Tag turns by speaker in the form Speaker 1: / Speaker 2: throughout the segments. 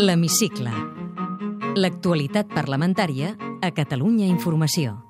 Speaker 1: L'Hemicicle. L'actualitat parlamentària a Catalunya Informació.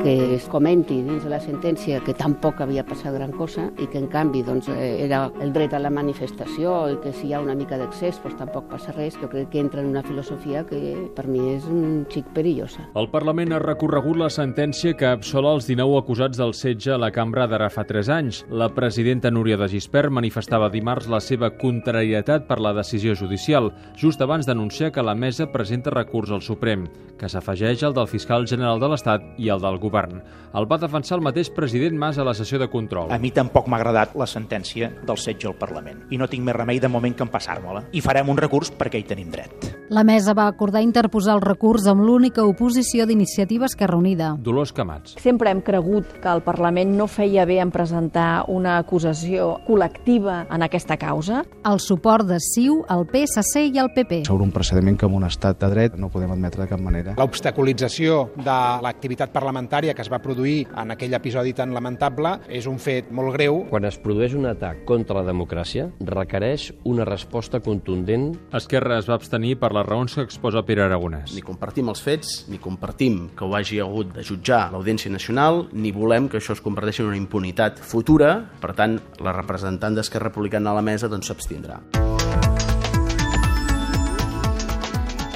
Speaker 2: que es comenti dins de la sentència que tampoc havia passat gran cosa i que en canvi doncs, eh, era el dret a la manifestació i que si hi ha una mica d'accés doncs, tampoc passa res, jo crec que entra en una filosofia que per mi és un xic perillosa.
Speaker 3: El Parlament ha recorregut la sentència que absola els 19 acusats del setge a la cambra d'ara fa 3 anys. La presidenta Núria de Gispert manifestava dimarts la seva contrarietat per la decisió judicial, just abans d'anunciar que la mesa presenta recurs al Suprem, que s'afegeix al del fiscal general de l'Estat i al del govern. El va defensar el mateix president Mas a la sessió de control.
Speaker 4: A mi tampoc m'ha agradat la sentència del setge al Parlament i no tinc més remei de moment que empassar-me-la. I farem un recurs perquè hi tenim dret.
Speaker 5: La mesa va acordar interposar el recurs amb l'única oposició d'iniciativa Esquerra Unida.
Speaker 3: Dolors Camats.
Speaker 6: Sempre hem cregut que el Parlament no feia bé en presentar una acusació col·lectiva en aquesta causa.
Speaker 5: El suport de CiU, el PSC i el PP.
Speaker 7: sobre un procediment que en un estat de dret no podem admetre de cap manera.
Speaker 8: L'obstaculització de l'activitat parlamentària que es va produir en aquell episodi tan lamentable és un fet molt greu
Speaker 9: Quan es produeix un atac contra la democràcia, requereix una resposta contundent.
Speaker 3: Esquerra es va abstenir per les raons que exposa Pere Aragonès.
Speaker 10: Ni compartim els fets, ni compartim que ho hagi hagut de jutjar l'Audiència Nacional, ni volem que això es converteixi en una impunitat futura. Per tant, la representant d'Esquerra Republicana a la mesa doncs s'abstindrà.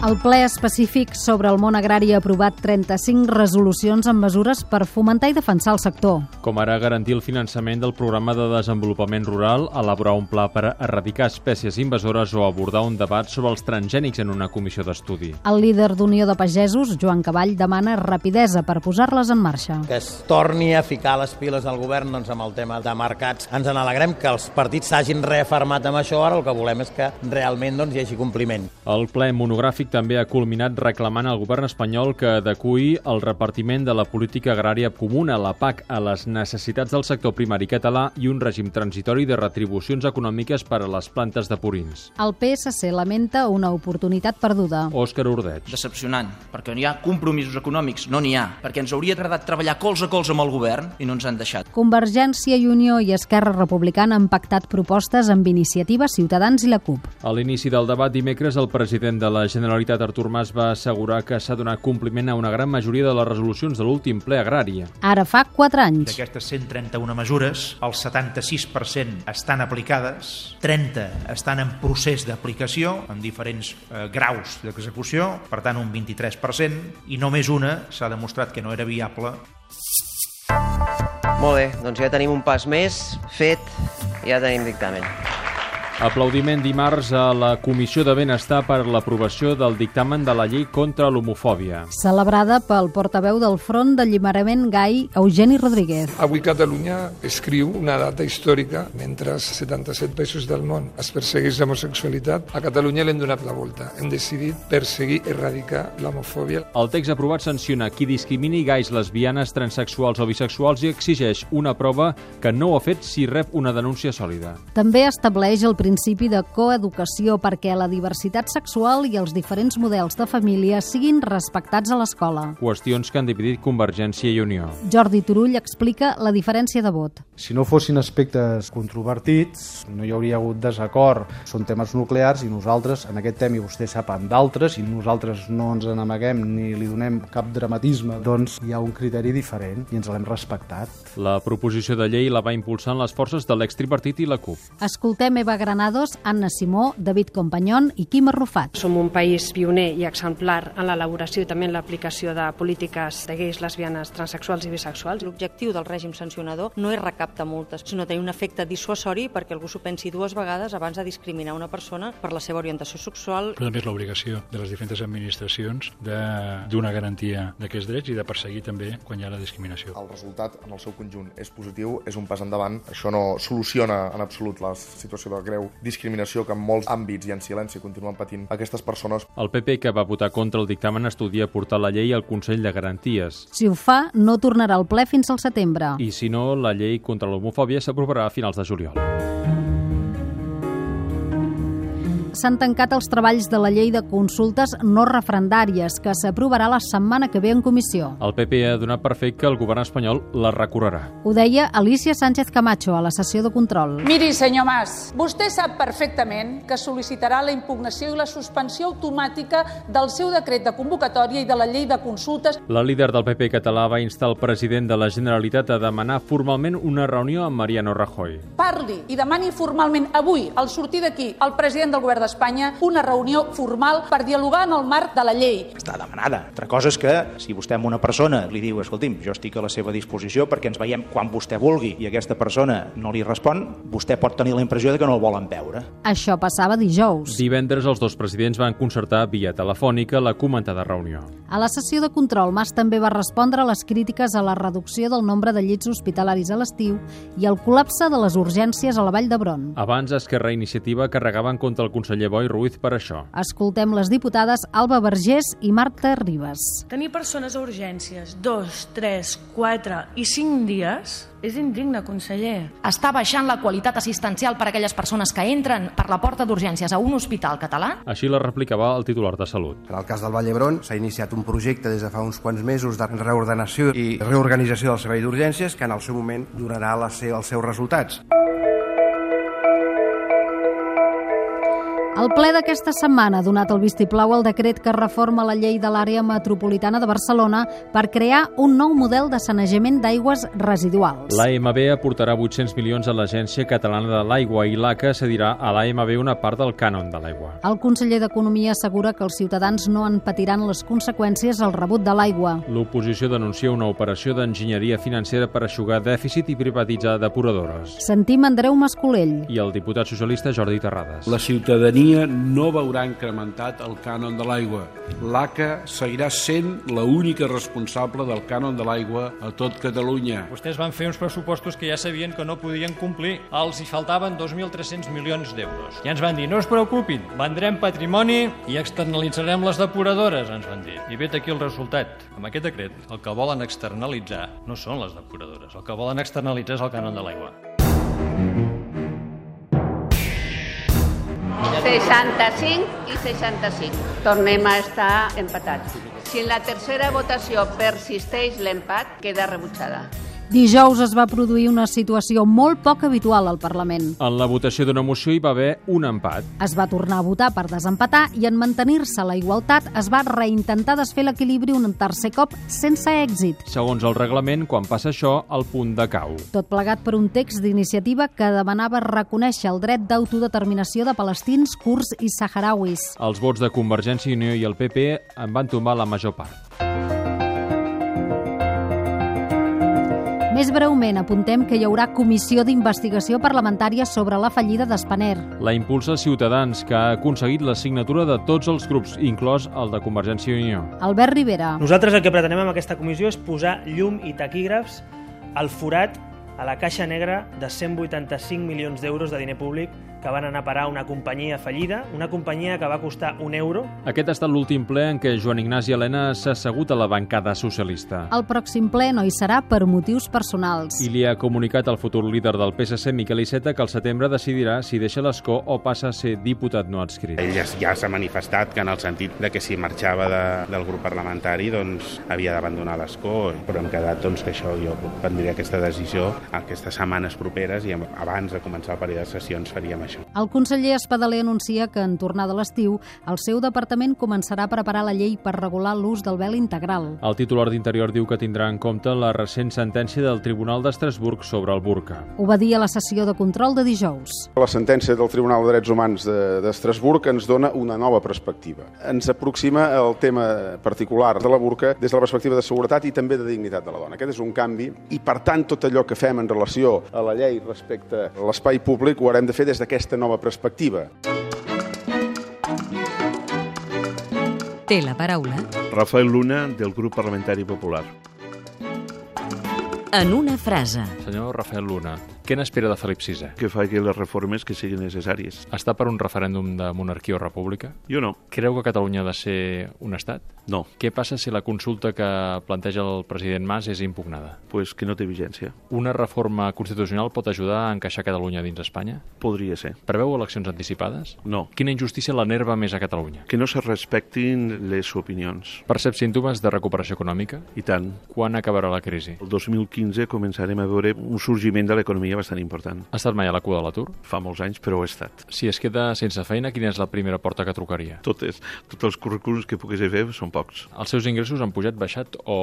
Speaker 5: El ple específic sobre el món agrari ha aprovat 35 resolucions amb mesures per fomentar i defensar el sector.
Speaker 3: com ara garantir el finançament del programa de desenvolupament rural, elaborar un pla per erradicar espècies invasores o abordar un debat sobre els transgènics en una comissió d'estudi.
Speaker 5: El líder d'Unió de Pagesos, Joan Cavall, demana rapidesa per posar-les en marxa.
Speaker 11: que es torni a ficar les piles al govern doncs, amb el tema de mercats. Ens n'alegrem que els partits s'hagin reafirmat amb això, ara el que volem és que realment doncs, hi hagi compliment.
Speaker 3: El ple monogràfic també ha culminat reclamant al govern espanyol que adequi el repartiment de la política agrària comuna, la PAC, a les necessitats del sector primari català i un règim transitori de retribucions econòmiques per a les plantes de purins.
Speaker 5: El PSC lamenta una oportunitat perduda.
Speaker 3: Òscar Ordeig.
Speaker 10: Decepcionant, perquè hi ha compromisos econòmics, no n'hi ha, perquè ens hauria agradat treballar colze a colze amb el govern i no ens han deixat.
Speaker 5: Convergència i Unió i Esquerra Republicana han pactat propostes amb iniciativa Ciutadans i la CUP.
Speaker 3: A l'inici del debat dimecres, el president de la Generalitat, Artur Mas, va assegurar que s'ha donat compliment a una gran majoria de les resolucions de l'últim ple agrari.
Speaker 5: Ara fa 4 anys.
Speaker 4: D'aquestes 131 mesures, el 76% estan aplicades, 30 estan en procés d'aplicació, amb diferents eh, graus d'execució, per tant un 23%, i només una s'ha demostrat que no era viable
Speaker 11: Molt bé, doncs ja tenim un pas més fet, ja tenim dictamen.
Speaker 3: Aplaudiment dimarts a la Comissió de Benestar per l'aprovació del dictamen de la llei contra l'homofòbia.
Speaker 5: Celebrada pel portaveu del Front d'Alliberament Gai, Eugeni Rodríguez.
Speaker 8: Avui Catalunya escriu una data històrica. Mentre 77 països del món es persegueix l'homosexualitat, a Catalunya l'hem donat la volta. Hem decidit perseguir, erradicar l'homofòbia.
Speaker 3: El text aprovat sanciona qui discrimini gais, lesbianes, transexuals o bisexuals i exigeix una prova que no ho ha fet si rep una denúncia sòlida.
Speaker 5: També estableix el principi de coeducació perquè la diversitat sexual i els diferents models de família siguin respectats a l'escola.
Speaker 3: Qüestions que han dividit Convergència i Unió.
Speaker 5: Jordi Turull explica la diferència de vot.
Speaker 7: Si no fossin aspectes controvertits, no hi hauria hagut desacord. Són temes nuclears i nosaltres, en aquest tema, i vostè sap en d'altres, i nosaltres no ens en amaguem ni li donem cap dramatisme, doncs hi ha un criteri diferent i ens l'hem respectat.
Speaker 3: La proposició de llei la va impulsant les forces de l'extripartit i la CUP.
Speaker 5: Escoltem Eva Granados, Anna Simó, David Companyón i Quim Arrufat.
Speaker 6: Som un país pioner i exemplar en l'elaboració i també en l'aplicació de polítiques de gais, lesbianes, transexuals i bisexuals.
Speaker 2: L'objectiu del règim sancionador no és recaptar multes, sinó tenir un efecte dissuasori perquè algú s'ho pensi dues vegades abans de discriminar una persona per la seva orientació sexual
Speaker 8: Però també és l'obligació de les diferents administracions de donar garantia d'aquests drets i de perseguir també quan hi ha la discriminació.
Speaker 7: El resultat, en el seu conjunt, és positiu, és un pas endavant. Això no soluciona en absolut la situació de greu discriminació que en molts àmbits i en silenci continuen patint aquestes persones.
Speaker 3: El PP, que va votar contra el dictamen, estudia portar la llei al Consell de Garanties.
Speaker 5: Si ho fa, no tornarà al ple fins al setembre.
Speaker 3: I si no, la llei contra l'homofòbia s'aprovarà a finals de juliol.
Speaker 5: s'han tancat els treballs de la llei de consultes no referendàries, que s'aprovarà la setmana que ve en comissió.
Speaker 3: El PP ha donat per fet que el govern espanyol la recorrerà.
Speaker 5: Ho deia Alicia Sánchez Camacho a la sessió de control.
Speaker 12: Miri, senyor Mas, vostè sap perfectament que sol·licitarà la impugnació i la suspensió automàtica del seu decret de convocatòria i de la llei de consultes.
Speaker 3: La líder del PP català va instar el president de la Generalitat a demanar formalment una reunió amb Mariano Rajoy.
Speaker 12: Parli i demani formalment avui, al sortir d'aquí, al president del govern d'Espanya una reunió formal per dialogar en el marc de la llei.
Speaker 4: Està demanada. Altra cosa és que, si vostè a una persona li diu, escolti'm, jo estic a la seva disposició perquè ens veiem quan vostè vulgui i aquesta persona no li respon, vostè pot tenir la impressió de que no el volen veure.
Speaker 5: Això passava dijous.
Speaker 3: Divendres els dos presidents van concertar via telefònica la comentada reunió.
Speaker 5: A la sessió de control, Mas també va respondre a les crítiques a la reducció del nombre de llits hospitalaris a l'estiu i al col·lapse de les urgències a la Vall d'Hebron.
Speaker 3: Abans, Esquerra Iniciativa carregaven contra el conseller Boi Ruiz per això.
Speaker 5: Escoltem les diputades Alba Vergés i Marta Ribes.
Speaker 13: Tenir persones a urgències dos, tres, quatre i cinc dies és indigne, conseller.
Speaker 14: Està baixant la qualitat assistencial per a aquelles persones que entren per la porta d'urgències a un hospital català?
Speaker 3: Així la replicava el titular de Salut.
Speaker 15: En el cas del Vall d'Hebron s'ha iniciat un projecte des de fa uns quants mesos de reordenació i reorganització del servei d'urgències que en el seu moment donarà la seva, els seus resultats.
Speaker 5: El ple d'aquesta setmana ha donat el vistiplau al decret que reforma la llei de l'àrea metropolitana de Barcelona per crear un nou model de sanejament d'aigües residuals.
Speaker 3: L'AMB aportarà 800 milions a l'Agència Catalana de l'Aigua i l'ACA cedirà a l'AMB una part del cànon de l'aigua.
Speaker 5: El conseller d'Economia assegura que els ciutadans no en patiran les conseqüències al rebut de l'aigua.
Speaker 3: L'oposició denuncia una operació d'enginyeria financera per aixugar dèficit i privatitzar depuradores.
Speaker 5: Sentim Andreu Mascolell.
Speaker 3: I el diputat socialista Jordi Terrades.
Speaker 16: La ciutadania ciutadania no veurà incrementat el cànon de l'aigua. L'ACA seguirà sent la única responsable del cànon de l'aigua a tot Catalunya.
Speaker 17: Vostès van fer uns pressupostos que ja sabien que no podien complir. Els hi faltaven 2.300 milions d'euros. Ja ens van dir, no us preocupin, vendrem patrimoni i externalitzarem les depuradores, ens van dir. I vet aquí el resultat. Amb aquest decret, el que volen externalitzar no són les depuradores, el que volen externalitzar és el cànon de l'aigua.
Speaker 2: 65 i 65. Tornem a estar empatats. Si en la tercera votació persisteix l'empat, queda rebutjada.
Speaker 5: Dijous es va produir una situació molt poc habitual al Parlament.
Speaker 3: En la votació d'una moció hi va haver un empat.
Speaker 5: Es va tornar a votar per desempatar i en mantenir-se la igualtat es va reintentar desfer l'equilibri un tercer cop sense èxit.
Speaker 3: Segons el reglament, quan passa això, el punt de cau.
Speaker 5: Tot plegat per un text d'iniciativa que demanava reconèixer el dret d'autodeterminació de palestins, kurds i saharauis.
Speaker 3: Els vots de Convergència i Unió i el PP en van tombar la major part.
Speaker 5: Més breument, apuntem que hi haurà comissió d'investigació parlamentària sobre la fallida d'Espaner.
Speaker 3: La impulsa Ciutadans, que ha aconseguit la signatura de tots els grups, inclòs el de Convergència i Unió.
Speaker 5: Albert Rivera.
Speaker 18: Nosaltres el que pretenem amb aquesta comissió és posar llum i taquígrafs al forat a la caixa negra de 185 milions d'euros de diner públic que van anar a parar una companyia fallida, una companyia que va costar un euro.
Speaker 3: Aquest ha estat l'últim ple en què Joan Ignasi Helena s'ha assegut a la bancada socialista.
Speaker 5: El pròxim ple no hi serà per motius personals.
Speaker 3: I li ha comunicat al futur líder del PSC, Miquel Iceta, que al setembre decidirà si deixa l'escó o passa a ser diputat no adscrit.
Speaker 19: Ell ja s'ha manifestat que en el sentit de que si marxava de, del grup parlamentari doncs havia d'abandonar l'escó, però hem quedat doncs, que això jo prendré aquesta decisió aquestes setmanes properes i abans de començar el període de sessions faríem això.
Speaker 5: El conseller Espadaler anuncia que en tornar de l'estiu el seu departament començarà a preparar la llei per regular l'ús del vel integral.
Speaker 3: El titular d'Interior diu que tindrà en compte la recent sentència del Tribunal d'Estrasburg sobre el burca.
Speaker 5: Ho va dir a la sessió de control de dijous.
Speaker 20: La sentència del Tribunal de Drets Humans d'Estrasburg de, ens dona una nova perspectiva. Ens aproxima al tema particular de la burca des de la perspectiva de seguretat i també de dignitat de la dona. Aquest és un canvi i, per tant, tot allò que fem fem en relació a la llei respecte a l'espai públic ho haurem de fer des d'aquesta nova perspectiva.
Speaker 1: Té la paraula.
Speaker 21: Rafael Luna, del grup parlamentari popular.
Speaker 1: En una frase.
Speaker 3: Senyor Rafael Luna, Què n'espera de Felip VI?
Speaker 21: Que faci les reformes que siguin necessàries.
Speaker 3: Està per un referèndum de monarquia o república?
Speaker 21: Jo no.
Speaker 3: Creu que Catalunya ha de ser un estat?
Speaker 21: No.
Speaker 3: Què passa si la consulta que planteja el president Mas és impugnada?
Speaker 21: Pues que no té vigència.
Speaker 3: Una reforma constitucional pot ajudar a encaixar Catalunya dins Espanya?
Speaker 21: Podria ser.
Speaker 3: Preveu eleccions anticipades?
Speaker 21: No.
Speaker 3: Quina injustícia l'enerva més a Catalunya?
Speaker 21: Que no se respectin les opinions.
Speaker 3: Percep símptomes de recuperació econòmica?
Speaker 21: I tant.
Speaker 3: Quan acabarà la crisi?
Speaker 21: El 2015 començarem a veure un sorgiment de l'economia bastant important.
Speaker 3: Ha estat mai a la cua de l'atur?
Speaker 21: Fa molts anys, però ho he estat.
Speaker 3: Si es queda sense feina, quina és la primera porta que trucaria?
Speaker 21: Totes. Tots els currículums que pogués fer són pocs.
Speaker 3: Els seus ingressos han pujat, baixat o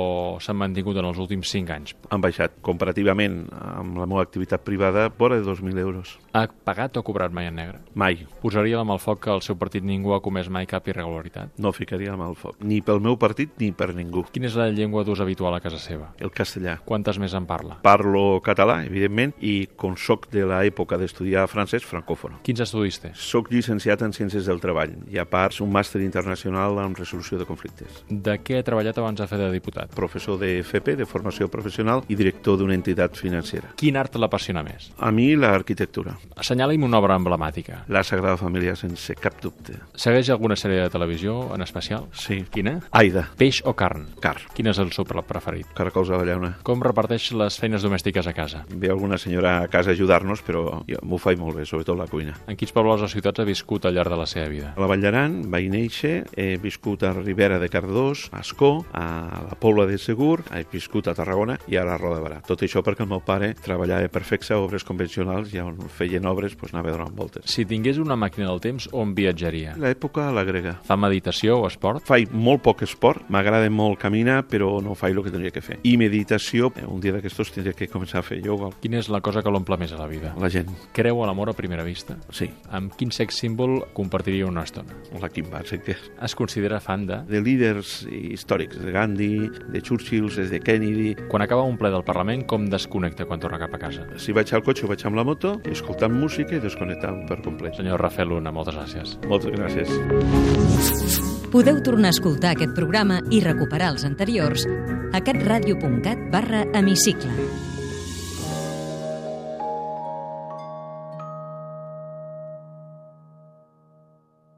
Speaker 3: s'han mantingut en els últims 5 anys?
Speaker 21: Han baixat. Comparativament amb la meva activitat privada, vora de 2.000 euros.
Speaker 3: Ha pagat o cobrat mai en negre?
Speaker 21: Mai.
Speaker 3: Posaria la mà al foc que el seu partit ningú ha comès mai cap irregularitat?
Speaker 21: No ficaria la mà al foc. Ni pel meu partit ni per ningú.
Speaker 3: Quina és la llengua d'ús habitual a casa seva?
Speaker 21: El castellà.
Speaker 3: Quantes més en parla?
Speaker 21: Parlo català, evidentment, i com soc de l'època d'estudiar francès, francòfona.
Speaker 3: Quins estudis té?
Speaker 21: Soc llicenciat en Ciències del Treball i, a part, un màster internacional en resolució de conflictes.
Speaker 3: De què ha treballat abans de fer de diputat?
Speaker 21: Professor de FP, de formació professional, i director d'una entitat financera.
Speaker 3: Quin art l'apassiona més?
Speaker 21: A mi, l'arquitectura.
Speaker 3: Assenyala-hi una obra emblemàtica.
Speaker 21: La Sagrada Família, sense cap dubte.
Speaker 3: Segueix alguna sèrie de televisió en especial?
Speaker 21: Sí.
Speaker 3: Quina?
Speaker 21: Aida.
Speaker 3: Peix o carn?
Speaker 21: Car.
Speaker 3: Quin és el seu plat preferit?
Speaker 21: Caracols a la llauna.
Speaker 3: Com reparteix les feines domèstiques a casa?
Speaker 21: Ve alguna senyora a casa a ajudar-nos, però jo m'ho faig molt bé, sobretot la cuina.
Speaker 3: En quins pobles o ciutats ha viscut al llarg de la seva vida?
Speaker 21: A la Vall d'Aran vaig néixer, he viscut a Ribera de Cardós, a Ascó, a la Pobla de Segur, he viscut a Tarragona i ara a Roda de Barà. Tot això perquè el meu pare treballava per fer obres convencionals i on feien obres doncs anava donant voltes.
Speaker 3: Si tingués una màquina del temps, on viatjaria?
Speaker 21: L'època a la grega.
Speaker 3: Fa meditació o esport?
Speaker 21: Faig molt poc esport, m'agrada molt caminar, però no faig el que tindria que fer. I meditació, eh, un dia d'aquestos tindria que començar a fer ioga.
Speaker 3: Quina és la cosa que l'omple més a la vida?
Speaker 21: La gent.
Speaker 3: Creu a l'amor a primera vista?
Speaker 21: Sí.
Speaker 3: Amb quin sex símbol compartiria una estona?
Speaker 21: La Kim Basinger.
Speaker 3: Es considera fan de...
Speaker 21: De líders històrics, de Gandhi, de Churchill, de Kennedy...
Speaker 3: Quan acaba un ple del Parlament, com desconnecta quan torna cap a casa?
Speaker 21: Si vaig al cotxe, vaig amb la moto, escoltant música i desconnectant per complet.
Speaker 3: Senyor Rafael Luna, moltes gràcies.
Speaker 21: Moltes gràcies.
Speaker 1: Podeu tornar a escoltar aquest programa i recuperar els anteriors a catradio.cat barra hemicicle.